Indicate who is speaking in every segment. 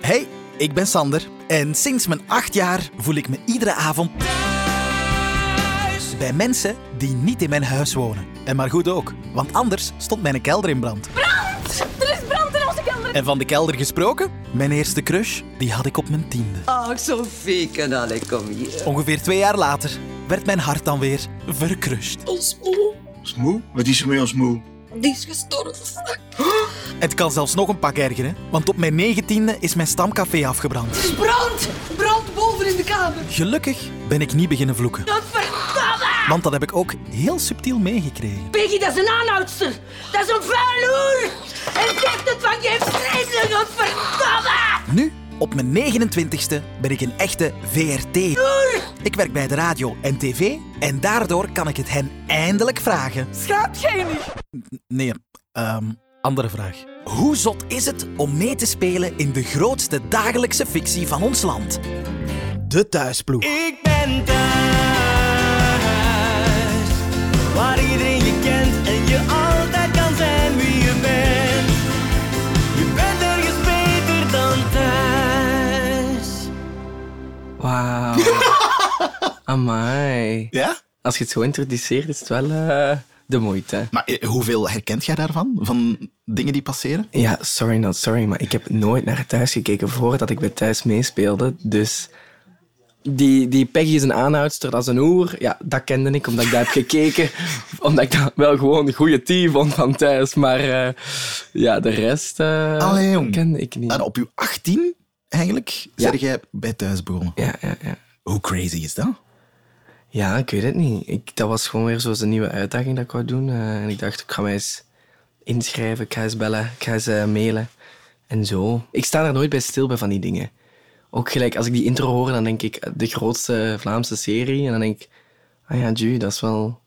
Speaker 1: Hey, ik ben Sander en sinds mijn acht jaar voel ik me iedere avond thuis bij mensen die niet in mijn huis wonen. En maar goed ook, want anders stond mijn kelder in brand.
Speaker 2: Er is brand in onze kelder.
Speaker 1: En van de kelder gesproken, mijn eerste crush, die had ik op mijn tiende.
Speaker 3: Ach, Sophie, kanale, kom hier.
Speaker 1: Ongeveer twee jaar later werd mijn hart dan weer verkrust.
Speaker 2: Ons moe.
Speaker 4: Ons moe? Wat is er met ons moe?
Speaker 2: Die is gestorven.
Speaker 1: Het kan zelfs nog een pak ergeren, want op mijn negentiende is mijn stamcafé afgebrand.
Speaker 3: Er is brand! Brand boven in de kamer.
Speaker 1: Gelukkig ben ik niet beginnen vloeken,
Speaker 2: Godverdomme!
Speaker 1: want dat heb ik ook heel subtiel meegekregen.
Speaker 2: Peggy, dat is een aanhoudster. Dat is een vuiloer. En zegt het van je vreselijk, godverdomme!
Speaker 1: Nu, op mijn 29ste, ben ik een echte VRT. Ik werk bij de radio en tv en daardoor kan ik het hen eindelijk vragen.
Speaker 3: Schaamt jij niet?
Speaker 1: Nee, ehm, andere vraag. Hoe zot is het om mee te spelen in de grootste dagelijkse fictie van ons land? De thuisploeg.
Speaker 5: Ik ben thuis, waar iedereen je kent en je altijd kan zijn wie je bent. Je bent ergens beter dan thuis. Wauw. Amai.
Speaker 4: Ja?
Speaker 5: Als je het zo introduceert, is het wel eh, de moeite.
Speaker 4: Maar eh, hoeveel herkent jij daarvan? Van dingen die passeren?
Speaker 5: Ja, sorry not sorry, maar ik heb nooit naar thuis gekeken voordat ik bij thuis meespeelde. Dus die, die Peggy is een aanhoudster, dat is een oer. Ja, dat kende ik, omdat ik daar heb gekeken. Omdat ik dat wel gewoon een goede team vond van thuis. Maar eh, ja, de rest eh,
Speaker 4: Allee, jong.
Speaker 5: kende ik niet.
Speaker 4: En op je 18 eigenlijk,
Speaker 5: Ja.
Speaker 4: zeg jij bij thuis begonnen.
Speaker 5: Ja, ja, ja.
Speaker 4: Hoe crazy is dat?
Speaker 5: ja, ik weet het niet. Ik, dat was gewoon weer zo'n nieuwe uitdaging dat ik wou doen. eh, en ik dacht, ik ga mij eens inschrijven, ik ga eens bellen, ik ga eens eh, mailen. En zo. Ik sta daar nooit bij stil bij van die dingen. Ook gelijk, als ik die intro hoor, dan denk ik eh, de grootste Vlaamse serie. En dan denk ik, ah ja, Ju, dat is wel...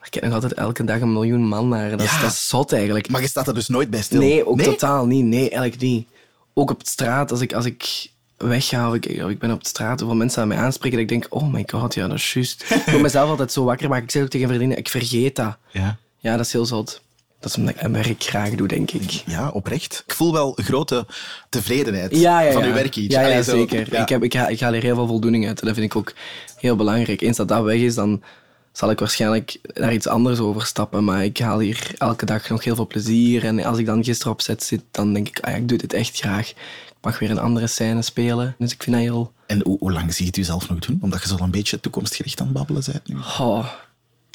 Speaker 5: Er kijkt nog altijd elke dag een miljoen man naar. Dat, is,
Speaker 4: Ja.
Speaker 5: dat is zot eigenlijk.
Speaker 4: Maar je staat er dus nooit bij stil.
Speaker 5: Nee, ook totaal niet. Nee, eigenlijk niet. Ook op de straat, als ik, als ik wegga of ik, of ik ben op de straat, hoeveel mensen aan mij aanspreken, dat ik denk, oh my god, ja, dat is juist. ik wil mezelf altijd zo wakker maken. Ik zeg ook tegen vriendinnen, ik vergeet dat.
Speaker 4: Ja.
Speaker 5: Ja, dat is heel zot. Dat is omdat ik mijn werk graag doe, denk ik.
Speaker 4: Ja, oprecht. Ik voel wel grote tevredenheid
Speaker 5: Ja, ja, ja.
Speaker 4: van uw werk hier.
Speaker 5: Ja, ja,
Speaker 4: Allee, zo,
Speaker 5: zeker.
Speaker 4: ja.
Speaker 5: Ik, heb, ik, ga, ik haal er heel veel voldoening uit. En dat vind ik ook heel belangrijk. Eens dat dat weg is, dan zal ik waarschijnlijk naar iets anders overstappen. Maar ik haal hier elke dag nog heel veel plezier. En als ik dan gisteren op set zit, dan denk ik, ah ja, ik doe dit echt graag. Ik mag weer een andere scène spelen. Dus ik vind dat heel...
Speaker 4: En hoe, hoe lang zie je het jezelf nog doen? Omdat je zo een beetje toekomstgericht aan het babbelen bent nu. Oké.
Speaker 5: Oh,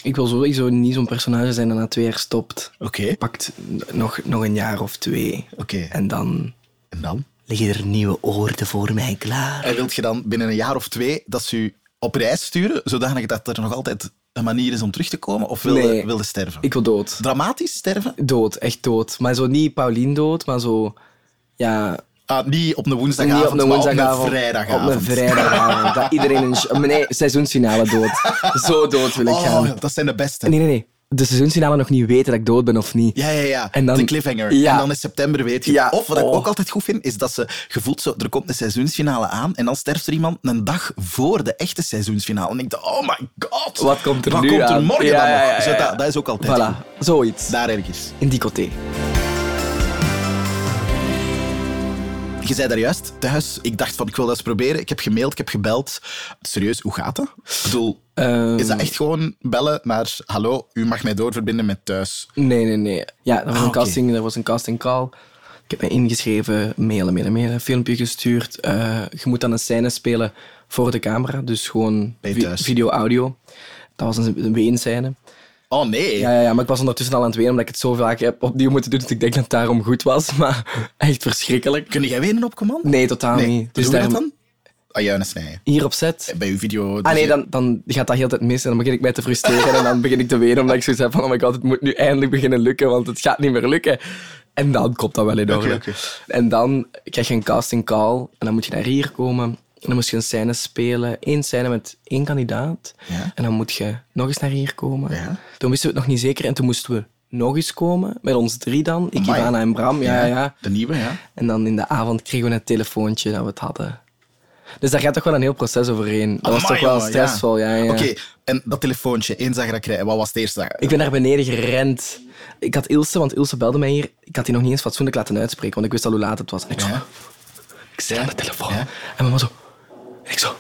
Speaker 5: ik wil sowieso niet zo'n personage zijn dat na twee jaar stopt.
Speaker 4: Oké.
Speaker 5: Pakt nog, nog een jaar of twee. En dan
Speaker 4: En dan?
Speaker 5: liggen er nieuwe oorden voor mij klaar.
Speaker 4: En wilt je dan binnen een jaar of twee dat ze u op reis sturen, zodanig dat er nog altijd een manier is om terug te komen? Of wil,
Speaker 5: Nee.
Speaker 4: je, wil je sterven?
Speaker 5: Ik wil dood.
Speaker 4: Dramatisch sterven?
Speaker 5: Dood, echt dood. Maar zo niet Paulien dood, maar zo... Ja,
Speaker 4: Ah, niet op een woensdagavond,
Speaker 5: niet op een
Speaker 4: maar
Speaker 5: woensdagavond.
Speaker 4: op een vrijdagavond.
Speaker 5: Op een vrijdagavond. dat iedereen een... sh- Nee, seizoensfinale dood. Zo dood wil ik gaan.
Speaker 4: Oh, dat zijn de beste.
Speaker 5: Nee, nee, nee. De seizoensfinale nog niet weten dat ik dood ben of niet.
Speaker 4: Ja, ja, ja.
Speaker 5: En dan-
Speaker 4: de cliffhanger.
Speaker 5: Ja.
Speaker 4: En dan in september weet je.
Speaker 5: Ja.
Speaker 4: Of wat ik
Speaker 5: Oh.
Speaker 4: ook altijd goed vind, is dat ze gevoeld zo... Er komt een seizoensfinale aan en dan sterft er iemand een dag voor de echte seizoensfinale. En ik dacht, oh my god.
Speaker 5: Wat komt er
Speaker 4: wat
Speaker 5: nu
Speaker 4: komt er
Speaker 5: aan?
Speaker 4: morgen
Speaker 5: Ja,
Speaker 4: dan
Speaker 5: ja,
Speaker 4: nog?
Speaker 5: ja,
Speaker 4: Zo,
Speaker 5: ja.
Speaker 4: dat, dat is ook altijd goed.
Speaker 5: Voilà, zoiets.
Speaker 4: Daar ergens.
Speaker 5: In die coté.
Speaker 4: Je zei daar juist thuis, ik dacht van ik wil dat eens proberen. Ik heb gemaild, ik heb gebeld. Serieus, hoe gaat dat? Ik bedoel,
Speaker 5: Ehm.
Speaker 4: is dat echt gewoon bellen naar hallo, u mag mij doorverbinden met thuis?
Speaker 5: Nee, nee, nee. Ja, er was,
Speaker 4: Ah,
Speaker 5: een
Speaker 4: oké.
Speaker 5: casting, er was een casting call. Ik heb mij ingeschreven, mailen, mailen, mailen, filmpje gestuurd. Eh, je moet dan een scène spelen voor de camera, dus gewoon
Speaker 4: Bij
Speaker 5: vi-
Speaker 4: thuis.
Speaker 5: video, audio. Dat was een, een weenscène.
Speaker 4: Oh nee.
Speaker 5: Ja, ja, ja, maar ik was ondertussen al aan het wenen omdat ik het zo vaak heb opnieuw moeten doen, dus ik denk dat het daarom goed was. Maar echt verschrikkelijk.
Speaker 4: Kun jij wenen op command?
Speaker 5: Nee, totaal niet.
Speaker 4: Dus
Speaker 5: Dus
Speaker 4: Doe je
Speaker 5: daar,
Speaker 4: dat dan? Ah, ja, een snij.
Speaker 5: Hier op set.
Speaker 4: Bij uw video. dus
Speaker 5: Ah nee, dan, dan gaat dat heel de tijd mis en dan begin ik mij te frustreren en dan begin ik te wenen omdat ik zoiets heb van oh my god, het moet nu eindelijk beginnen lukken, want het gaat niet meer lukken. En dan komt dat wel in orde.
Speaker 4: oké.
Speaker 5: En dan krijg je een casting call en dan moet je naar hier komen en dan moet je een scène spelen, één scène met één kandidaat
Speaker 4: Ja.
Speaker 5: en dan moet je nog eens naar hier komen.
Speaker 4: Ja.
Speaker 5: Toen wisten we het nog niet zeker en toen moesten we nog eens komen, met ons drie dan, ik,
Speaker 4: Amai.
Speaker 5: Ivana en Bram. Ja, ja. ja.
Speaker 4: De nieuwe, ja.
Speaker 5: En dan in de avond kregen we een telefoontje dat we het hadden. Dus daar gaat toch wel een heel proces overheen. Dat was
Speaker 4: Amai,
Speaker 5: toch wel
Speaker 4: jongen,
Speaker 5: stressvol, ja. ja, ja.
Speaker 4: Oké, en dat telefoontje, één zag je dat krijgen. Wat was het eerste?
Speaker 5: Ik ben naar beneden gerend. Ik had Ilse, want Ilse belde mij hier. Ik had die nog niet eens fatsoenlijk laten uitspreken, want ik wist al hoe laat het was. En ik zo, Ik zit aan de telefoon. En mama zo. En ik zo.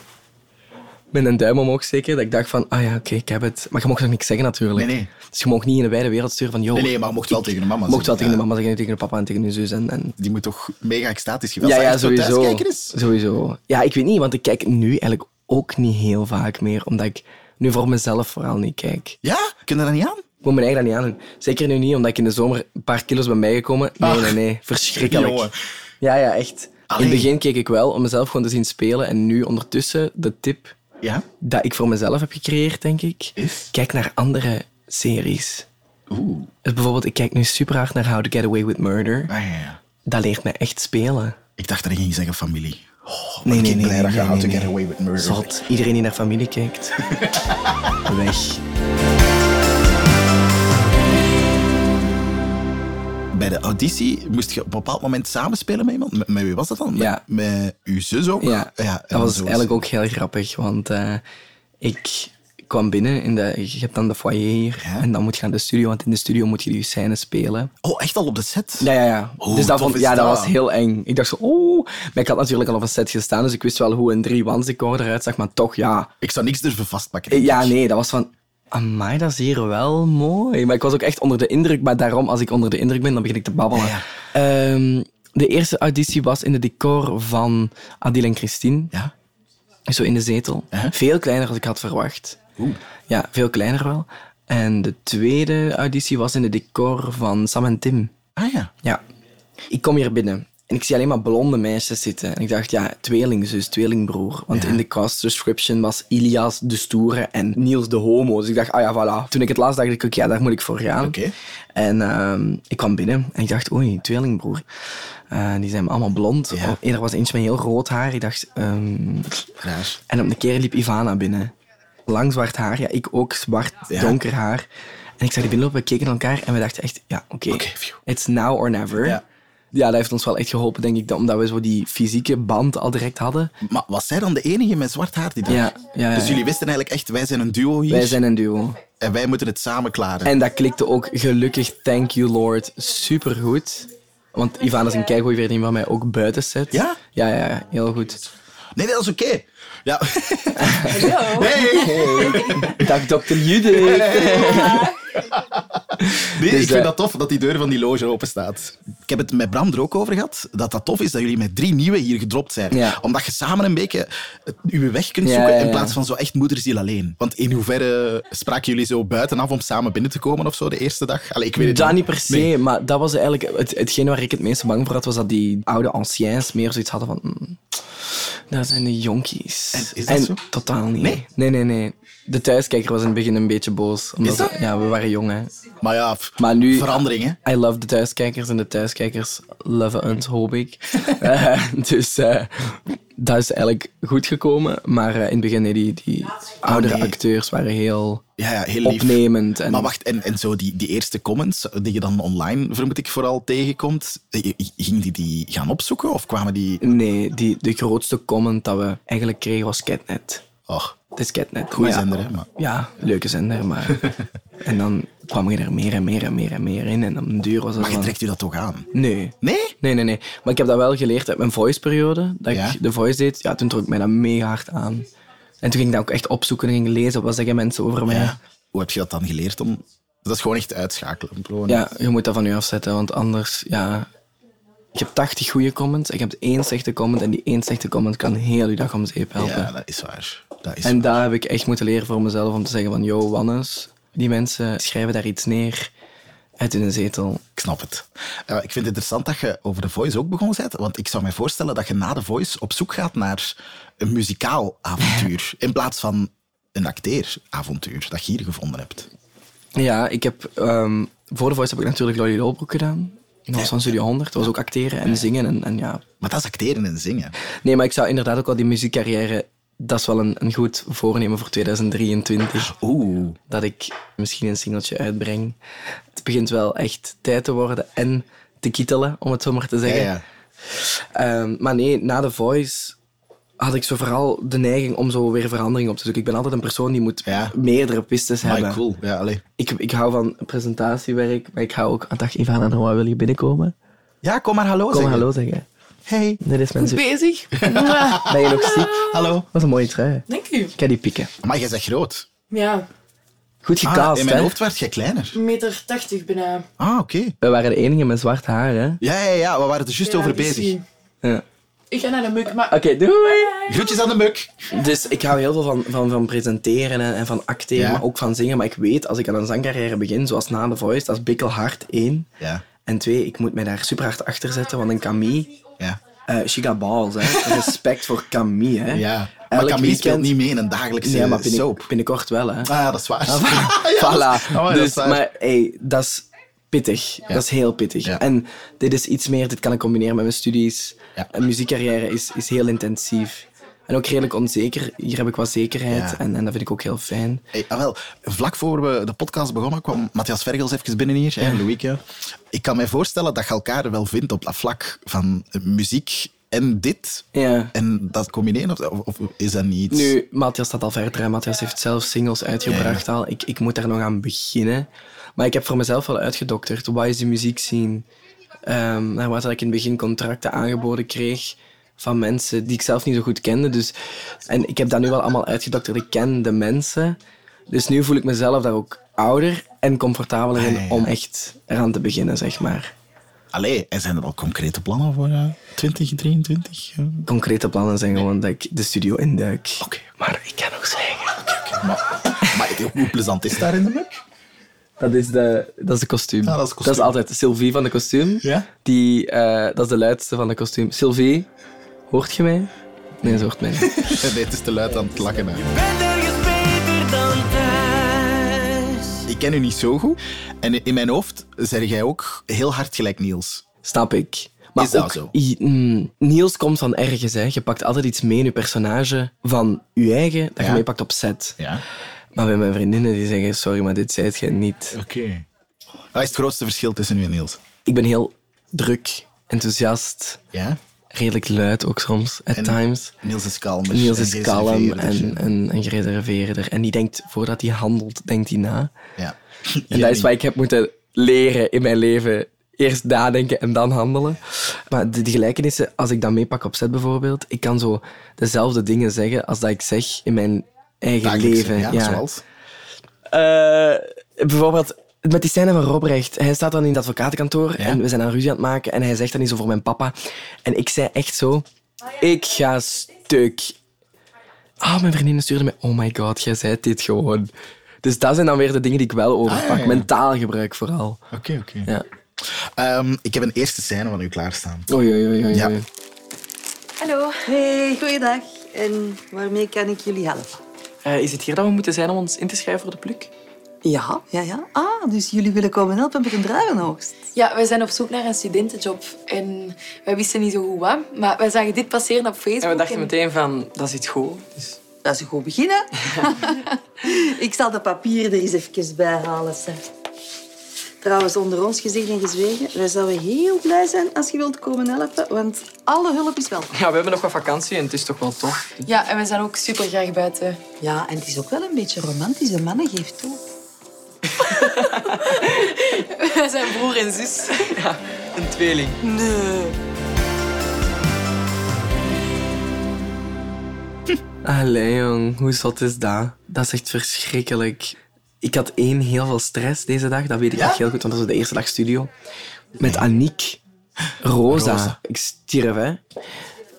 Speaker 5: Met een duim omhoog zeker. Dat ik dacht van, ah ja, oké, ik heb het. Maar je mocht nog niks zeggen natuurlijk.
Speaker 4: Nee, nee.
Speaker 5: Dus je mocht niet in de wijde wereld sturen van, joh.
Speaker 4: Nee, nee, maar je mocht wel tegen de mama
Speaker 5: mocht wel
Speaker 4: zeggen,
Speaker 5: tegen de
Speaker 4: ja.
Speaker 5: mama zeggen, en tegen de papa en tegen de zus. En, en...
Speaker 4: Die moet toch mega extatisch geweest
Speaker 5: Ja,
Speaker 4: zijn.
Speaker 5: ja,
Speaker 4: als je thuis
Speaker 5: sowieso.
Speaker 4: kijken is.
Speaker 5: Sowieso. Ja, ik weet niet, want ik kijk nu eigenlijk ook niet heel vaak meer. Omdat ik nu voor mezelf vooral niet kijk.
Speaker 4: Ja? Kunnen dat niet aan?
Speaker 5: Ik moet mijn eigen dat niet aan doen. Zeker nu niet, omdat ik in de zomer een paar kilo's ben bijgekomen. Nee,
Speaker 4: Ach.
Speaker 5: nee, nee. Verschrikkelijk.
Speaker 4: Jongen.
Speaker 5: Ja, ja, echt.
Speaker 4: Allee.
Speaker 5: In het begin keek ik wel om mezelf gewoon te zien spelen. En nu ondertussen de tip
Speaker 4: Ja.
Speaker 5: dat ik voor mezelf heb gecreëerd, denk ik.
Speaker 4: Is?
Speaker 5: Kijk naar andere series. Oeh. Dus bijvoorbeeld, ik kijk nu super hard naar How to Get Away with Murder.
Speaker 4: Ah, ja, ja.
Speaker 5: Dat leert me echt spelen.
Speaker 4: Ik dacht dat je ging zeggen familie. Oh,
Speaker 5: Nee, nee,
Speaker 4: ik ben
Speaker 5: nee,
Speaker 4: blij dat
Speaker 5: nee,
Speaker 4: je
Speaker 5: nee,
Speaker 4: How to
Speaker 5: nee,
Speaker 4: Get
Speaker 5: nee.
Speaker 4: Away with Murder
Speaker 5: Zot. Iedereen die naar familie kijkt. Weg.
Speaker 4: Bij de auditie moest je op een bepaald moment samenspelen met iemand. Met, met wie was dat dan? Met,
Speaker 5: Ja.
Speaker 4: met uw zus ook?
Speaker 5: Ja,
Speaker 4: en
Speaker 5: dat was
Speaker 4: zo
Speaker 5: eigenlijk ook heel grappig, want eh, ik kwam binnen in de... Je hebt dan de foyer hier
Speaker 4: Ja.
Speaker 5: en dan moet je naar de studio, want in de studio moet je die scène spelen.
Speaker 4: Oh, echt al op de set?
Speaker 5: Ja, ja, ja.
Speaker 4: Hoe
Speaker 5: dus
Speaker 4: tof
Speaker 5: dat, vond,
Speaker 4: is
Speaker 5: ja, dat
Speaker 4: dat?
Speaker 5: was heel eng. Ik dacht zo, oeh. Maar ik had natuurlijk al op een set gestaan, dus ik wist wel hoe een drie-wans decor eruit zag, maar toch, ja.
Speaker 4: Ik zou niks durven vastpakken.
Speaker 5: Eh,
Speaker 4: denk
Speaker 5: Ja,
Speaker 4: ik.
Speaker 5: nee, dat was van... Amai, dat is hier wel mooi. Maar ik was ook echt onder de indruk. Maar daarom, als ik onder de indruk ben, dan begin ik te babbelen.
Speaker 4: Ja,
Speaker 5: Ehm, de eerste auditie was in de decor van Adile en Christine.
Speaker 4: Ja?
Speaker 5: Zo in de zetel.
Speaker 4: Ja.
Speaker 5: Veel kleiner dan ik had verwacht.
Speaker 4: Oeh.
Speaker 5: Ja, veel kleiner wel. En de tweede auditie was in het decor van Sam en Tim.
Speaker 4: Ah ja.
Speaker 5: Ja. Ik kom hier binnen en ik zie alleen maar blonde meisjes zitten. En ik dacht, ja, tweelingzus, tweelingbroer. Want in de cast description was Ilias de stoere en Niels de homo. Dus ik dacht, ah ja, voilà. Toen ik het laatst dacht, ik, ook, ja, daar moet ik voor gaan.
Speaker 4: Oké.
Speaker 5: En ehm, ik kwam binnen en ik dacht, oei, tweelingbroer. Eh, die zijn allemaal blond.
Speaker 4: Ja.
Speaker 5: Oh, eerder was eentje met heel rood haar. Ik dacht, ehm,
Speaker 4: Graag.
Speaker 5: en op een keer liep Ivana binnen. Lang zwart haar, ja, ik ook zwart,
Speaker 4: Ja.
Speaker 5: donker haar. En ik zag die binnenlopen, we keken naar elkaar en we dachten echt, ja, oké,
Speaker 4: Oké, phew.
Speaker 5: it's now or never.
Speaker 4: Ja.
Speaker 5: Ja, dat heeft ons wel echt geholpen, denk ik, dat- omdat we zo die fysieke band al direct hadden.
Speaker 4: Maar was zij dan de enige met zwart haar die dag?
Speaker 5: Ja, ja, ja.
Speaker 4: Dus jullie wisten eigenlijk echt, wij zijn een duo hier
Speaker 5: Wij zijn een duo.
Speaker 4: en wij moeten het samen klaren.
Speaker 5: En dat klikte ook gelukkig, thank you Lord, supergoed. Want Ivana is een keigoeie vriendin van mij, ook buiten set.
Speaker 4: Ja?
Speaker 5: Ja, ja, ja, heel goed.
Speaker 4: Nee, nee, dat is oké. Ja. Hey.
Speaker 5: Dag dokter Judith.
Speaker 4: Nee,
Speaker 5: Dus,
Speaker 4: ik vind
Speaker 5: eh,
Speaker 4: dat tof dat die deur van die loge open staat. Ik heb het met Bram er ook over gehad. Dat dat tof is dat jullie met drie nieuwe hier gedropt zijn.
Speaker 5: Ja.
Speaker 4: Omdat je samen een beetje het- uw weg kunt
Speaker 5: Ja,
Speaker 4: zoeken.
Speaker 5: ja, ja.
Speaker 4: In plaats van zo echt moederziel alleen. Want in hoeverre spraken jullie zo buitenaf om samen binnen te komen of zo de eerste dag? Allee, ik weet het
Speaker 5: Dat
Speaker 4: niet.
Speaker 5: niet per se, maar dat was eigenlijk het, hetgeen waar ik het meest bang voor had, was dat die oude anciens meer zoiets hadden van... "Mm, daar zijn de jonkies.
Speaker 4: En is dat zo?
Speaker 5: Totaal niet.
Speaker 4: Nee?
Speaker 5: nee, nee, nee. De thuiskijker was in het begin een beetje boos. Omdat
Speaker 4: Is dat?
Speaker 5: we- ja, we waren jong, hè.
Speaker 4: Maar ja, pff,
Speaker 5: Maar nu-
Speaker 4: verandering, hè?
Speaker 5: I love de thuiskijkers en de thuiskijkers love ons, hoop ik. Eh, dus eh, dat is eigenlijk goed gekomen. Maar eh, in het begin, nee, die, die oudere
Speaker 4: nee.
Speaker 5: acteurs waren heel
Speaker 4: Ja, ja heel lief.
Speaker 5: opnemend. En
Speaker 4: Maar wacht, en, en zo die, die eerste comments die je dan online, vermoed ik, vooral tegenkomt, eh, ging die die gaan opzoeken of kwamen die...
Speaker 5: Nee, die, de grootste comment dat we eigenlijk kregen was Catnet.
Speaker 4: Oh,
Speaker 5: Het is Catnet.
Speaker 4: goeie
Speaker 5: Maar ja,
Speaker 4: zender, hè? Maar...
Speaker 5: Ja, leuke zender, maar... en dan kwam je er meer en meer en meer en meer in. En op een duur was dat
Speaker 4: Maar je
Speaker 5: van-
Speaker 4: trekt u dat toch aan?
Speaker 5: Nee.
Speaker 4: Nee?
Speaker 5: Nee, nee, nee. Maar ik heb dat wel geleerd uit mijn voice-periode. Dat
Speaker 4: Ja?
Speaker 5: ik de voice deed, ja, toen trok mij dat mega hard aan. En toen ging ik dat ook echt opzoeken en ging lezen. Wat zeggen mensen over mij?
Speaker 4: Ja.
Speaker 5: Ja,
Speaker 4: Hoe heb je dat dan geleerd? Om... Dat is gewoon echt uitschakelen. Gewoon.
Speaker 5: je moet dat van je afzetten, want anders, ja... Ik heb 80 goede comments, ik heb één slechte comment. En die één slechte comment kan heel je dag om zeep helpen.
Speaker 4: ja, dat is waar. Dat is
Speaker 5: En daar heb ik echt moeten leren voor mezelf om te zeggen van... Yo, Wannes, die mensen schrijven daar iets neer uit hun zetel.
Speaker 4: Ik snap het. Eh, ik vind het interessant dat je over de Voice ook begonnen bent. Want ik zou mij voorstellen dat je na de Voice op zoek gaat naar een muzikaal avontuur. in plaats van een acteeravontuur dat je hier gevonden hebt.
Speaker 5: Ja, ik heb... ehm, voor de Voice heb ik natuurlijk Lolly Lolbroek gedaan. Dat was van Studio 100. Dat was ook acteren en zingen en, en ja...
Speaker 4: Maar dat is acteren en zingen.
Speaker 5: Nee, maar ik zou inderdaad ook wel die muziekcarrière... Dat is wel een, een goed voornemen voor 2023.
Speaker 4: Oeh.
Speaker 5: Dat ik misschien een singeltje uitbreng. Het begint wel echt tijd te worden en te kittelen, om het zo maar te
Speaker 4: Ja,
Speaker 5: zeggen.
Speaker 4: ja.
Speaker 5: Ehm, maar nee, na The Voice had ik zo vooral de neiging om zo weer verandering op te zoeken. Ik ben altijd een persoon die moet
Speaker 4: Ja.
Speaker 5: meerdere pistes
Speaker 4: Maar
Speaker 5: hebben.
Speaker 4: cool. Ja, allee.
Speaker 5: Ik, ik hou van presentatiewerk, maar ik hou ook... Ah, Dag Ivana, Noah, wil je binnenkomen?
Speaker 4: ja, kom maar hallo
Speaker 5: Kom
Speaker 4: zeggen.
Speaker 5: hallo zeggen.
Speaker 4: Hey.
Speaker 5: Dit is mijn
Speaker 6: Goed
Speaker 5: zus.
Speaker 6: bezig.
Speaker 5: Ben je nog ziek?
Speaker 4: Hallo.
Speaker 5: Wat een mooie trui.
Speaker 6: Dank u.
Speaker 5: Ik ga die pikken.
Speaker 4: Maar jij bent groot.
Speaker 6: Ja,
Speaker 5: Goed
Speaker 4: Ah,
Speaker 5: gecast,
Speaker 4: in mijn
Speaker 5: hè?
Speaker 4: hoofd werd jij kleiner.
Speaker 6: 1,80 meter bijna.
Speaker 4: Ah, oké.
Speaker 5: We waren de enige met zwart haar, hè?
Speaker 4: Ja, ja, ja. We waren er juist
Speaker 6: Ja,
Speaker 4: over
Speaker 6: dus
Speaker 4: bezig.
Speaker 6: die-
Speaker 5: Ja.
Speaker 6: Ik ga naar de muk, maar...
Speaker 5: Oké, doei!
Speaker 4: Groetjes aan de muk.
Speaker 5: Dus ik hou heel veel van, van, van presenteren en, en van acteren,
Speaker 4: Ja.
Speaker 5: maar ook van zingen. Maar ik weet, als ik aan een zangcarrière begin, zoals na The Voice, dat is bikkelhard, één.
Speaker 4: Ja,
Speaker 5: En twee, ik moet mij daar super hard achter zetten, want een Camille...
Speaker 4: ja.
Speaker 5: eh she got balls, hè. Respect voor Camille, hè.
Speaker 4: ja. Maar
Speaker 5: Elk
Speaker 4: Camille speelt
Speaker 5: weekend-
Speaker 4: niet mee in een dagelijkse
Speaker 5: Nee, maar binnen-
Speaker 4: eh, soap.
Speaker 5: binnenkort wel, hè.
Speaker 4: Ah, dat is waar.
Speaker 5: voilà.
Speaker 4: Ja, dat is
Speaker 5: dus,
Speaker 4: waar.
Speaker 5: maar hey, dat is pittig. Dat is heel pittig.
Speaker 4: Ja.
Speaker 5: En dit is iets meer, dit kan ik combineren met mijn studies.
Speaker 4: Ja.
Speaker 5: Een muziekcarrière is, is heel intensief. En ook redelijk onzeker. Hier heb ik wat zekerheid
Speaker 4: Ja.
Speaker 5: en, en dat vind ik ook heel fijn.
Speaker 4: Hey, ah, wel, vlak voor we de podcast begonnen kwam Matthias Vergels even binnen hier, hè, Louieke. Ik kan mij voorstellen dat je elkaar wel vindt op dat vlak van muziek en dit.
Speaker 5: Ja.
Speaker 4: En dat combineren, of, of- of is dat niet iets?
Speaker 5: Nu, Matthias staat al verder. hè. Matthias heeft zelf singles uitgebracht al. Ik, ik moet daar nog aan beginnen. Maar ik heb voor mezelf wel uitgedokterd. Wat is de muziek zien? Ehm naar wat ik in het begin contracten aangeboden kreeg van mensen die ik zelf niet zo goed kende. Dus, en ik heb dat nu wel allemaal uitgedokterd. Ik ken de mensen. Dus nu voel ik mezelf daar ook ouder en comfortabeler in
Speaker 4: Ah, ja, ja.
Speaker 5: om echt eraan te beginnen, zeg maar.
Speaker 4: Allee, en zijn er al concrete plannen voor eh, 2023? Eh,
Speaker 5: Concrete plannen zijn gewoon dat ik de studio induik.
Speaker 4: Oké.
Speaker 5: Maar ik kan ook zeggen...
Speaker 4: Maar, maar het- hoe plezant is daar in de muk?
Speaker 5: Dat is de, dat is de kostuum.
Speaker 4: Ja, Ah, dat is de kostuum.
Speaker 5: altijd Sylvie van de kostuum.
Speaker 4: Ja?
Speaker 5: Die, eh, dat is de luidste van de kostuum. Sylvie, hoort je mij? Nee, ze hoort mij niet.
Speaker 4: Nee, het is te luid aan het lakken. hè.
Speaker 7: bent ergens beter dan thuis.
Speaker 4: Ik ken u niet zo goed. En in mijn hoofd zeg jij ook heel hard gelijk Niels.
Speaker 5: Snap ik.
Speaker 4: Is dat
Speaker 5: ook-
Speaker 4: zo?
Speaker 5: i- mm, Niels komt van ergens. Hè. Je pakt altijd iets mee in je personage van je eigen, dat
Speaker 4: Ja.
Speaker 5: je meepakt op set.
Speaker 4: Ja.
Speaker 5: Maar bij mijn vriendinnen die zeggen, sorry, maar dit zijt jij niet.
Speaker 4: Oké. Wat is het grootste verschil tussen u en Niels?
Speaker 5: Ik ben heel druk, enthousiast,
Speaker 4: Ja?
Speaker 5: redelijk luid ook soms, at
Speaker 4: En-
Speaker 5: times.
Speaker 4: Niels is kalmer.
Speaker 5: Niels
Speaker 4: en
Speaker 5: is kalm
Speaker 4: gereserveerder.
Speaker 5: en, en, en gereserveerder. En die denkt, voordat hij handelt, denkt hij na.
Speaker 4: Ja.
Speaker 5: En dat is wat ik heb moeten leren in mijn leven. Eerst nadenken en dan handelen. Maar de, de gelijkenissen, als ik dat meepak op set bijvoorbeeld, ik kan zo dezelfde dingen zeggen als dat ik zeg in mijn eigen
Speaker 4: Dagelijks,
Speaker 5: leven.
Speaker 4: Ja, zoals.
Speaker 5: Eh, bijvoorbeeld met die scène van Robrecht. Hij staat dan in het advocatenkantoor
Speaker 4: Ja.
Speaker 5: en we zijn aan ruzie aan het maken. En hij zegt dan iets over mijn papa. En ik zei echt zo... Ik ga stuk. Ah, mijn vriendin stuurde mij... Oh my god, jij zei dit gewoon. Dus dat zijn dan weer de dingen die ik wel overpak.
Speaker 4: Ah, ja, ja.
Speaker 5: Mentaal gebruik vooral.
Speaker 4: Oké, oké.
Speaker 5: Ja.
Speaker 4: Ehm, ik heb een eerste scène van u klaarstaan.
Speaker 5: Oei, oei, oei, oei.
Speaker 4: Ja.
Speaker 5: oei.
Speaker 3: Hallo. Hey, goeiedag. En waarmee kan ik jullie helpen?
Speaker 6: Eh, is het hier dat we moeten zijn om ons in te schrijven voor de pluk?
Speaker 3: Ja, ja, ja. Ah, dus jullie willen komen helpen met een druivenhoogst.
Speaker 6: Ja, wij zijn op zoek naar een studentenjob. En wij wisten niet zo goed wat, maar wij zagen dit passeren op Facebook.
Speaker 8: En we dachten meteen van, dat is iets goed. Dus
Speaker 3: Dat is een goed begin, hè? ik zal de papieren er eens even bij halen, Seth. Trouwens, onder ons gezegd en gezwegen, wij zouden heel blij zijn als je wilt komen helpen, want alle hulp is welkom.
Speaker 8: ja, we hebben nog wat vakantie en het is toch wel tof.
Speaker 6: Ja, en wij zijn ook super graag buiten.
Speaker 3: Ja, en het is ook wel een beetje romantisch. De mannen geeft toe.
Speaker 6: wij zijn broer en zus.
Speaker 8: Een tweeling.
Speaker 5: Allee, jong. Hoe zot is dat? Dat is echt verschrikkelijk. Ik had één heel veel stress deze dag. Dat weet ik nog heel goed, want dat was de eerste dag studio. Met Aniek. Rosa.
Speaker 4: Rosa.
Speaker 5: Ik stierf, hè.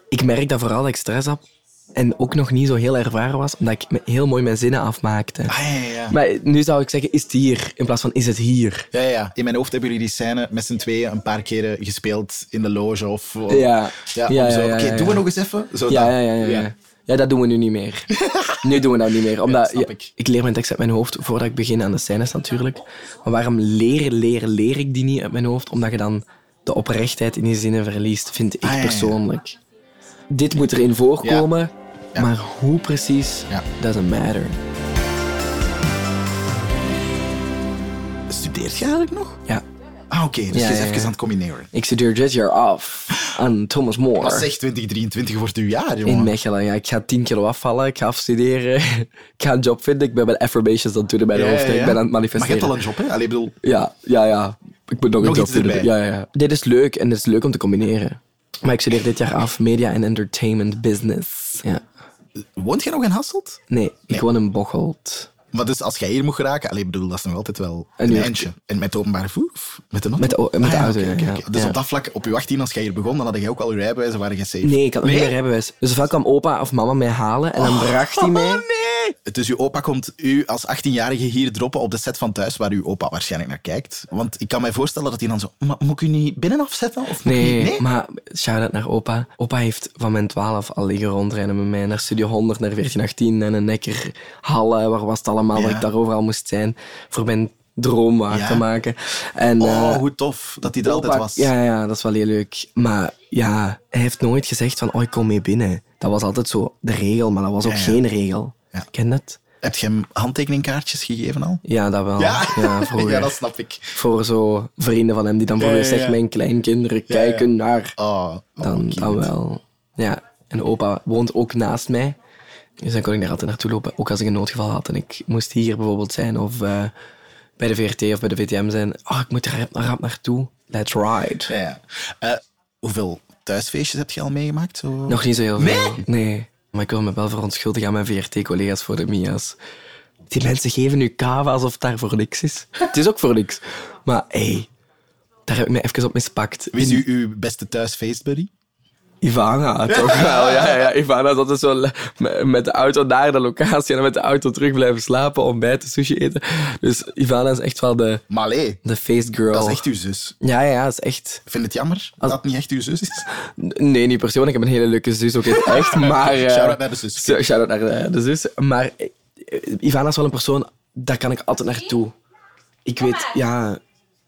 Speaker 5: Ik merk dat vooral dat ik stress had. En ook nog niet zo heel ervaren was, omdat ik me- heel mooi mijn zinnen afmaakte.
Speaker 4: Ah, ja, ja, ja.
Speaker 5: Maar nu zou ik zeggen, is het hier? In plaats van, is het hier?
Speaker 4: Ja, ja, ja. In mijn hoofd hebben jullie die scène met z'n tweeën een paar keren gespeeld in de loge of... of-
Speaker 5: Ja.
Speaker 4: Ja,
Speaker 5: Ja,
Speaker 4: om zo.
Speaker 5: ja, ja,
Speaker 4: Oké,
Speaker 5: ja,
Speaker 4: doen we
Speaker 5: ja.
Speaker 4: nog eens even? Zo
Speaker 5: Ja,
Speaker 4: dan.
Speaker 5: ja, ja, ja, ja. Ja, dat doen we nu niet meer. nu doen we dat niet meer. Omdat,
Speaker 4: snap
Speaker 5: ja,
Speaker 4: ik.
Speaker 5: leer mijn tekst uit mijn hoofd voordat ik begin aan de scènes natuurlijk. Maar waarom leren, leren, leer ik die niet uit mijn hoofd? Omdat je dan de oprechtheid in die zinnen verliest, vind ik
Speaker 4: Ah, ja, ja.
Speaker 5: persoonlijk. Dit moet erin voorkomen,
Speaker 4: Ja.
Speaker 5: maar hoe precies,
Speaker 4: Ja.
Speaker 5: doesn't matter.
Speaker 4: Studeert jij eigenlijk nog?
Speaker 5: Ja.
Speaker 4: Ah, oké. dus
Speaker 5: Ja,
Speaker 4: je is
Speaker 5: ja,
Speaker 4: even
Speaker 5: ja.
Speaker 4: aan het combineren.
Speaker 5: Ik studeer dit jaar af aan Thomas More.
Speaker 4: Pas zeg, 2023 wordt uw jaar, jongen.
Speaker 5: In Mechelen, ja. Ik ga 10 kilo afvallen, ik ga afstuderen, ik ga een job vinden. Ik ben bij de Affirmations aan het doen bij de
Speaker 4: Ja, ja,
Speaker 5: hoofd.
Speaker 4: ja.
Speaker 5: Ik ben aan het
Speaker 4: Maar je
Speaker 5: manifesteren.
Speaker 4: hebt al een job, hè? Allee, ik bedoel...
Speaker 5: Ja, ja, ja. Ik moet nog,
Speaker 4: Nog
Speaker 5: een job
Speaker 4: iets erbij.
Speaker 5: vinden. Ja, ja, ja. Dit is leuk en het is leuk om te combineren. Maar ik studeer dit jaar af media en entertainment business. Ja.
Speaker 4: Woont jij nog in Hasselt?
Speaker 5: Nee, ik woon in Bocholt.
Speaker 4: Maar dus als jij hier mocht raken, alleen bedoel, dat is nog altijd wel
Speaker 5: Een
Speaker 4: een
Speaker 5: uur.
Speaker 4: eindje. En met openbaar voer? Of met een auto?
Speaker 5: Met de o- met de
Speaker 4: ja,
Speaker 5: auto,
Speaker 4: oké,
Speaker 5: ja,
Speaker 4: oké,
Speaker 5: ja.
Speaker 4: oké. Dus
Speaker 5: Ja.
Speaker 4: op dat vlak, op je 18 als jij hier begon, dan had jij ook al je rijbewijs en waren je safe.
Speaker 5: Nee, ik had nog niet mijn rijbewijs. Dus ofwel kwam opa of mama mij halen en
Speaker 4: Oh.
Speaker 5: dan bracht hij mij.
Speaker 4: Dus uw opa komt u als 18-jarige hier droppen op de set van thuis, waar uw opa waarschijnlijk naar kijkt. Want ik kan mij voorstellen dat hij dan zo... "Maar Moet ik u niet binnen afzetten? Of moet ik
Speaker 5: Nee,
Speaker 4: niet- nee?
Speaker 5: maar shout-out naar opa. Opa heeft van mijn 12 al liggen rondrijden met mij naar Studio 100, naar 1418 en een nekker Halle, waar was het allemaal, dat
Speaker 4: Ja.
Speaker 5: ik daar overal moest zijn voor mijn droom waar
Speaker 4: Ja.
Speaker 5: te maken. En,
Speaker 4: Oh,
Speaker 5: eh,
Speaker 4: hoe tof dat hij er
Speaker 5: opa-
Speaker 4: altijd was.
Speaker 5: Ja, ja, dat is wel heel leuk. Maar ja, hij heeft nooit gezegd van, oh, ik kom mee binnen. Dat was altijd zo de regel, maar dat was ook
Speaker 4: ja.
Speaker 5: geen regel.
Speaker 4: Ja.
Speaker 5: Ken dat?
Speaker 4: Heb je hem handtekeningkaartjes gegeven al?
Speaker 5: Ja, dat wel. vroeger.
Speaker 4: ja, dat snap ik.
Speaker 5: Voor zo vrienden van hem die dan voor
Speaker 4: Ja,
Speaker 5: u
Speaker 4: ja,
Speaker 5: zegt,
Speaker 4: ja.
Speaker 5: mijn kleinkinderen kijken naar
Speaker 4: Oh, oh,
Speaker 5: dan,
Speaker 4: cute.
Speaker 5: dan wel. Ja, en opa woont ook naast mij. Dus dan kon ik daar altijd naartoe lopen. Ook als ik een noodgeval had en ik moest hier bijvoorbeeld zijn of eh, bij de VRT of bij de VTM zijn. Oh, ik moet er rap, rap naartoe. Let's ride.
Speaker 4: Ja, ja. Eh, hoeveel thuisfeestjes heb je al meegemaakt? Zo?
Speaker 5: Nog niet zo heel veel. Nee? Maar ik wil me wel verontschuldigen aan mijn VRT-collega's voor de Mia's. Die mensen geven nu kava alsof het daar voor niks is. het is ook voor niks. Maar hey, daar heb ik me even op mispakt.
Speaker 4: Wie is uw, uw beste thuisfeest, buddy?
Speaker 5: Ivana, toch wel. Ja, ja, ja. Ivana is altijd zo le- me- met de auto naar de locatie en dan met de auto terug blijven slapen, ontbijten, sushi eten. Dus Ivana is echt wel de,
Speaker 4: Maar allee,
Speaker 5: de face girl.
Speaker 4: dat is echt uw zus.
Speaker 5: Ja, ja, ja, dat is echt...
Speaker 4: Ik vind het jammer dat dat niet echt uw zus is.
Speaker 5: N- Nee, niet persoonlijk. Ik heb een hele leuke zus, ook in het echt. Maar, eh,
Speaker 4: Shout-out naar de zus.
Speaker 5: zo- Shout-out naar de, de zus. Maar eh, eh, Ivana is wel een persoon, daar kan ik altijd naartoe. Ik weet, ja,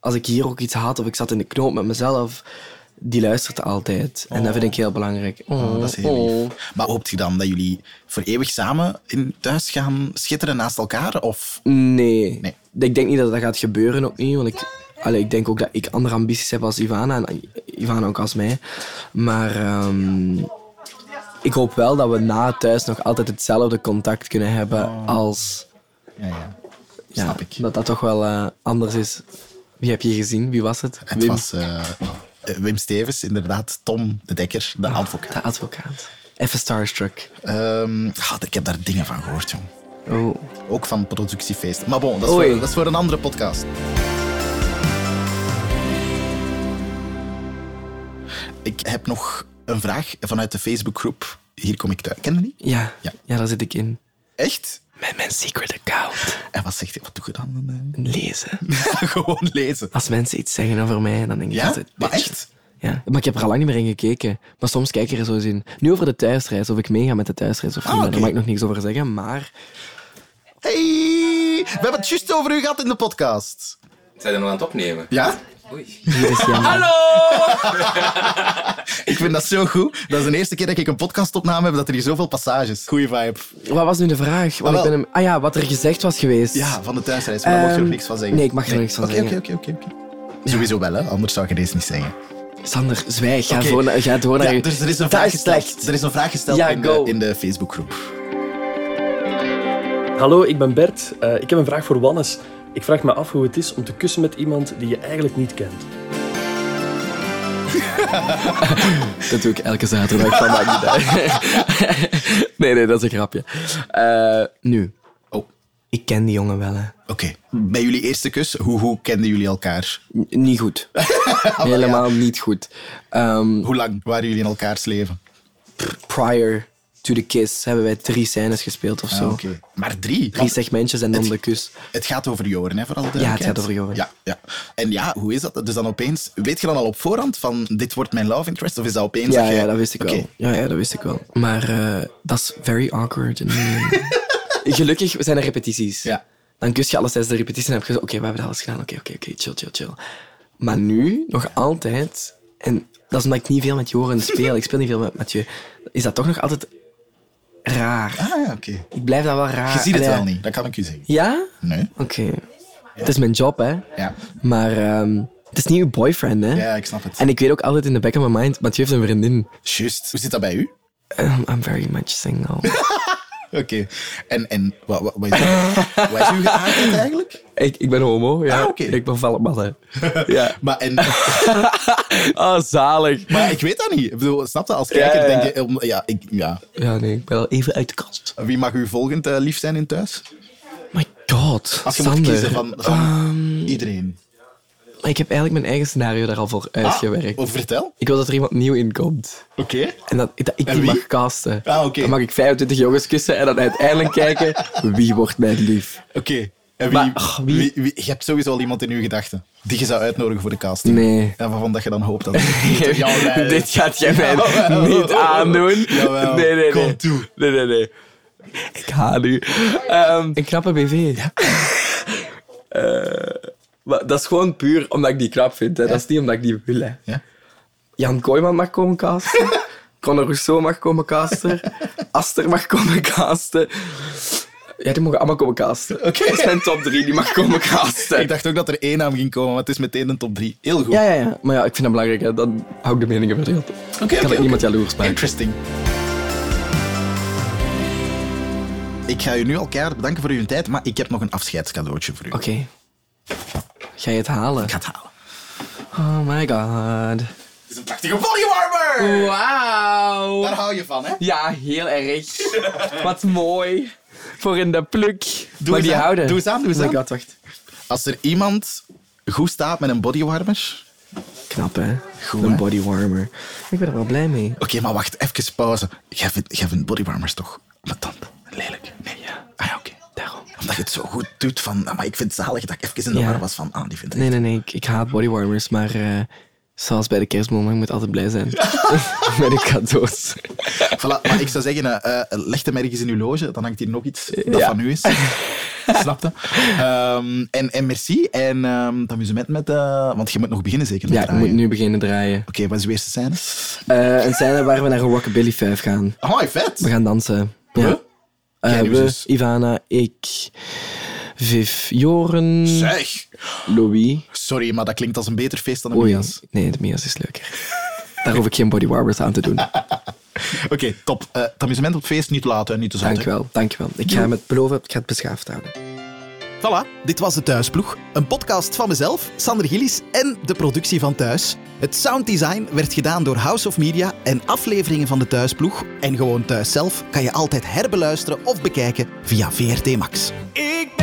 Speaker 5: als ik hier ook iets had of ik zat in de knoop met mezelf, die luistert altijd. En dat vind ik heel belangrijk.
Speaker 4: Oh, dat is heel lief. Maar hoopt je dan dat jullie voor eeuwig samen in thuis gaan schitteren naast elkaar? Of
Speaker 5: Nee.
Speaker 4: Nee.
Speaker 5: Ik denk niet dat dat gaat gebeuren opnieuw. Want ik, allee, ik denk ook dat ik andere ambities heb als Ivana. En Ivana ook als mij. Maar ehm, ik hoop wel dat we na thuis nog altijd hetzelfde contact kunnen hebben als...
Speaker 4: Oh. ja, ja.
Speaker 5: Ja,
Speaker 4: Snap ik.
Speaker 5: Dat dat toch wel eh, anders is. Wie heb je gezien? Wie was het?
Speaker 4: het
Speaker 5: Wim?
Speaker 4: was eh, eh, Wim Stevens, inderdaad, Tom de Dekker,
Speaker 5: Ah,
Speaker 4: de advocaat.
Speaker 5: De advocaat. Even starstruck.
Speaker 4: Ehm, ah, ik heb daar dingen van gehoord, jong.
Speaker 5: Oh.
Speaker 4: Ook van productiefeest. Maar bon, dat is,
Speaker 5: Oei.
Speaker 4: voor, dat is voor een andere podcast. Ik heb nog een vraag vanuit de Facebookgroep. Hier kom ik thuis. Ken je die?
Speaker 5: Ja.
Speaker 4: Ja.
Speaker 5: ja. daar zit ik in.
Speaker 4: Echt?
Speaker 5: Met mijn secret account.
Speaker 4: En wat zegt hij? Wat doe je dan?
Speaker 5: Lezen.
Speaker 4: Eh, Gewoon lezen.
Speaker 5: Als mensen iets zeggen over mij, dan denk ik
Speaker 4: Ja?
Speaker 5: altijd...
Speaker 4: Maar
Speaker 5: bitch.
Speaker 4: echt?
Speaker 5: Ja. Maar ik heb er al lang niet meer in gekeken. Maar soms kijk ik er zo eens in. Nu over de thuisreis, of ik meega met de thuisreis of niet.
Speaker 4: Ah, oké.
Speaker 5: Daar mag ik nog niks over zeggen, maar...
Speaker 4: Hey, we hebben het juist over u gehad in de podcast.
Speaker 9: Zijn we nog aan het opnemen?
Speaker 4: Ja?
Speaker 5: Dit is jammer.
Speaker 4: Ik vind dat zo goed. Dat is de eerste keer dat ik een podcastopname heb dat er hier zoveel passages. Goeie vibe.
Speaker 5: Wat was nu de vraag? Want ik
Speaker 4: Ah, wel.
Speaker 5: ben hem... Ah ja, wat er gezegd was geweest.
Speaker 4: Ja, van de thuisreis. Maar daar mocht je
Speaker 5: Ehm,
Speaker 4: nog niks van zeggen.
Speaker 5: nee, ik mag er nog niks van
Speaker 4: Oké,
Speaker 5: zeggen.
Speaker 4: Oké, oké, oké. oké. Sowieso wel, hè? anders zou ik deze niet zeggen.
Speaker 5: Sander, zwijg. Ga
Speaker 4: Oké.
Speaker 5: door naar... Ga door naar
Speaker 4: Ja,
Speaker 5: eh, je-
Speaker 4: dus er is een
Speaker 5: Dat
Speaker 4: vraag
Speaker 5: slecht.
Speaker 4: gesteld, er is een vraag gesteld
Speaker 5: Ja,
Speaker 4: in, de,
Speaker 5: go.
Speaker 4: in de Facebookgroep.
Speaker 10: Hallo, ik ben Bert. Eh, ik heb een vraag voor Wannes. Ik vraag me af hoe het is om te kussen met iemand die je eigenlijk niet kent.
Speaker 5: Dat doe ik elke zaterdag. Dat maakt niet uit. nee, nee, dat is een grapje. Eh, nu.
Speaker 4: Oh.
Speaker 5: Ik ken die jongen wel, hè.
Speaker 4: Oké, bij jullie eerste kus, hoe, hoe kenden jullie elkaar?
Speaker 5: N- niet goed. Helemaal niet goed. Ehm,
Speaker 4: Hoe lang waren jullie in elkaars leven?
Speaker 5: prior to the kiss hebben wij drie scènes gespeeld of zo.
Speaker 4: Ah, oké. Maar drie?
Speaker 5: Oh. Drie
Speaker 4: Want
Speaker 5: segmentjes en dan de kus.
Speaker 4: het gaat over Joren, hè, vooral de
Speaker 5: Ja, het gaat over Joren.
Speaker 4: Ja, ja. En ja, hoe is dat? Dus dan opeens, weet je dan al op voorhand van dit wordt mijn love interest? Of is dat opeens
Speaker 5: Ja,
Speaker 4: dat jij-
Speaker 5: ja, dat wist ik
Speaker 4: Oké.
Speaker 5: wel. Ja, ja, dat wist ik wel. Maar eh, dat is very awkward. En, eh, Gelukkig zijn er repetities.
Speaker 4: Ja.
Speaker 5: Dan kus je alles tijdens de repetitie en heb je zo, oké, we hebben dat alles gedaan. Oké, oké, oké, chill, chill, chill. Maar nu, nog altijd, en dat is omdat ik niet veel met Joren speel, ik speel niet veel met Mathieu, is dat toch nog altijd raar.
Speaker 4: Ah, ja, oké.
Speaker 5: Ik blijf dat wel raar.
Speaker 4: Je ziet het
Speaker 5: Allee,
Speaker 4: wel niet, dat kan ik u zeggen.
Speaker 5: Ja?
Speaker 4: Nee?
Speaker 5: Oké. Het is mijn job, hè.
Speaker 4: Ja.
Speaker 5: Maar ehm, het is niet uw boyfriend, hè.
Speaker 4: Ja, ik snap het.
Speaker 5: En ik weet ook altijd in the back of my mind, Mathieu heeft een vriendin. Ehm,
Speaker 4: Juist. Hoe zit dat bij u?
Speaker 5: Um, I'm very much single.
Speaker 4: Oké. En, en wat, wat, wat is uw- wat is uw geaardheid eigenlijk?
Speaker 5: Ik, ik ben homo, ja.
Speaker 4: Ah, oké.
Speaker 5: Ik ben valkman, hè. Ja.
Speaker 4: Maar, en,
Speaker 5: Ah, zalig.
Speaker 4: maar ik weet dat niet. Ik bedoel, snap je? Als kijker
Speaker 5: Ja, ja.
Speaker 4: denk je... om- Ja, ik, ja.
Speaker 5: Ja, nee, ik ben al even uit de kast.
Speaker 4: Wie mag u volgend eh, lief zijn in thuis?
Speaker 5: My god,
Speaker 4: Als je
Speaker 5: Sander. Ah, Ehm,
Speaker 4: moet kiezen van, van iedereen.
Speaker 5: Maar ik heb eigenlijk mijn eigen scenario daar al voor uitgewerkt.
Speaker 4: Ah, Of oh, vertel.
Speaker 5: Ik wil dat er iemand nieuw in komt.
Speaker 4: Oké.
Speaker 5: En dat, dat ik
Speaker 4: En
Speaker 5: die
Speaker 4: wie?
Speaker 5: mag casten.
Speaker 4: Ah, oké.
Speaker 5: Dan mag ik 25 jongens kussen en dan uiteindelijk kijken wie wordt mijn lief.
Speaker 4: Oké. En wie,
Speaker 5: Maar, ach, wie-
Speaker 4: wie- wie- je hebt sowieso al iemand in uw gedachten die je zou uitnodigen voor de casting.
Speaker 5: Nee.
Speaker 4: En waarvan dat je dan hoopt dat het jouw lijn is.
Speaker 5: Dit gaat jij mij
Speaker 4: Jawel.
Speaker 5: niet aandoen.
Speaker 4: Jawel.
Speaker 5: Nee, nee, nee.
Speaker 4: Kom toe.
Speaker 5: Nee, nee, nee. Ik haat u. Ehm, een knappe BV. Ja. maar dat is gewoon puur omdat ik die knap vind. Hè. Dat is niet omdat ik die wil. Hè.
Speaker 4: Ja.
Speaker 5: Jan Kooijman mag komen casten. Conor Rousseau mag komen casten. Aster mag komen casten. Ja, die mogen allemaal komen casten.
Speaker 4: Oké.
Speaker 5: Dat is mijn top 3, die mag komen casten.
Speaker 4: Ik dacht ook dat er één naam ging komen, maar het is meteen een top drie. Heel goed.
Speaker 5: Ja, ja, ja. Maar ja, ik vind dat belangrijk. Hè. Dan hou ik de meningen verdeeld.
Speaker 4: Oké,
Speaker 5: kan
Speaker 4: oké,
Speaker 5: ik niemand jaloers
Speaker 4: oké.
Speaker 5: maken.
Speaker 4: Interesting. Ik ga je nu al keihard bedanken voor uw tijd, maar ik heb nog een afscheidscadeautje voor u.
Speaker 5: Oké. Ga je het halen?
Speaker 4: Ik ga het halen.
Speaker 5: Oh my god.
Speaker 4: Het is een prachtige bodywarmer!
Speaker 5: Wauw.
Speaker 4: Daar hou je van, hè?
Speaker 5: Ja, heel erg. Wat mooi. Voor in de pluk. Doe
Speaker 4: eens
Speaker 5: die
Speaker 4: aan.
Speaker 5: houden.
Speaker 4: Doe eens aan, doe eens
Speaker 5: oh my
Speaker 4: aan.
Speaker 5: god, wacht.
Speaker 4: Als er iemand goed staat met een bodywarmer...
Speaker 5: Knap, hè?
Speaker 4: Goed,
Speaker 5: Een
Speaker 4: hè?
Speaker 5: body warmer. Ik ben er wel blij mee.
Speaker 4: Oké, maar wacht, even pauze. Jij vindt, jij vindt bodywarmers toch tand lelijk? Nee, ja. Ah ja, oké.
Speaker 5: Daarom.
Speaker 4: Omdat je het zo goed doet van... ah, Maar ik vind het zalig dat ik even in de
Speaker 5: Ja.
Speaker 4: war was van... Ah, die vindt het
Speaker 5: Nee, nee, nee. Ik, ik haat body warmers, maar eh, zoals bij de kerstboom, ik moet altijd blij zijn. Met de cadeaus.
Speaker 4: Voilà, maar ik zou zeggen, eh, eh, leg hem ergens in uw loge, dan hangt hier nog iets dat
Speaker 5: Ja.
Speaker 4: van u is. Snap je? Ehm, en, en merci en ehm het amusement met... eh, want je moet nog beginnen zeker met
Speaker 5: Ja, ik
Speaker 4: draaien.
Speaker 5: moet nu beginnen draaien.
Speaker 4: Oké, wat is uw eerste scène?
Speaker 5: Eh, een scène waar we naar een rockabilly 5 gaan.
Speaker 4: Hoi, vet!
Speaker 5: We gaan dansen. Ja.
Speaker 4: Huh?
Speaker 5: Eh,
Speaker 4: Jij nu
Speaker 5: we,
Speaker 4: dus.
Speaker 5: Ivana, ik, Viv, Joren,
Speaker 4: Zeg!
Speaker 5: Louis.
Speaker 4: Sorry, maar dat klinkt als een beter feest dan een
Speaker 5: Oh ja,
Speaker 4: Mia's.
Speaker 5: nee, de Mia's is leuker. Daar hoef ik geen body warmers aan te doen.
Speaker 4: Oké, top. Eh het amusement op het feest, niet te laat en niet te zat. hè.
Speaker 5: Dankjewel, dankjewel. Ik ga met beloven, ik ga het beschaafd houden.
Speaker 1: Voilà, dit was de Thuisploeg. Een podcast van mezelf, Sander Gillis en de productie van Thuis. Het sounddesign werd gedaan door House of Media en afleveringen van de Thuisploeg en gewoon Thuis zelf kan je altijd herbeluisteren of bekijken via VRT Max.
Speaker 7: Ik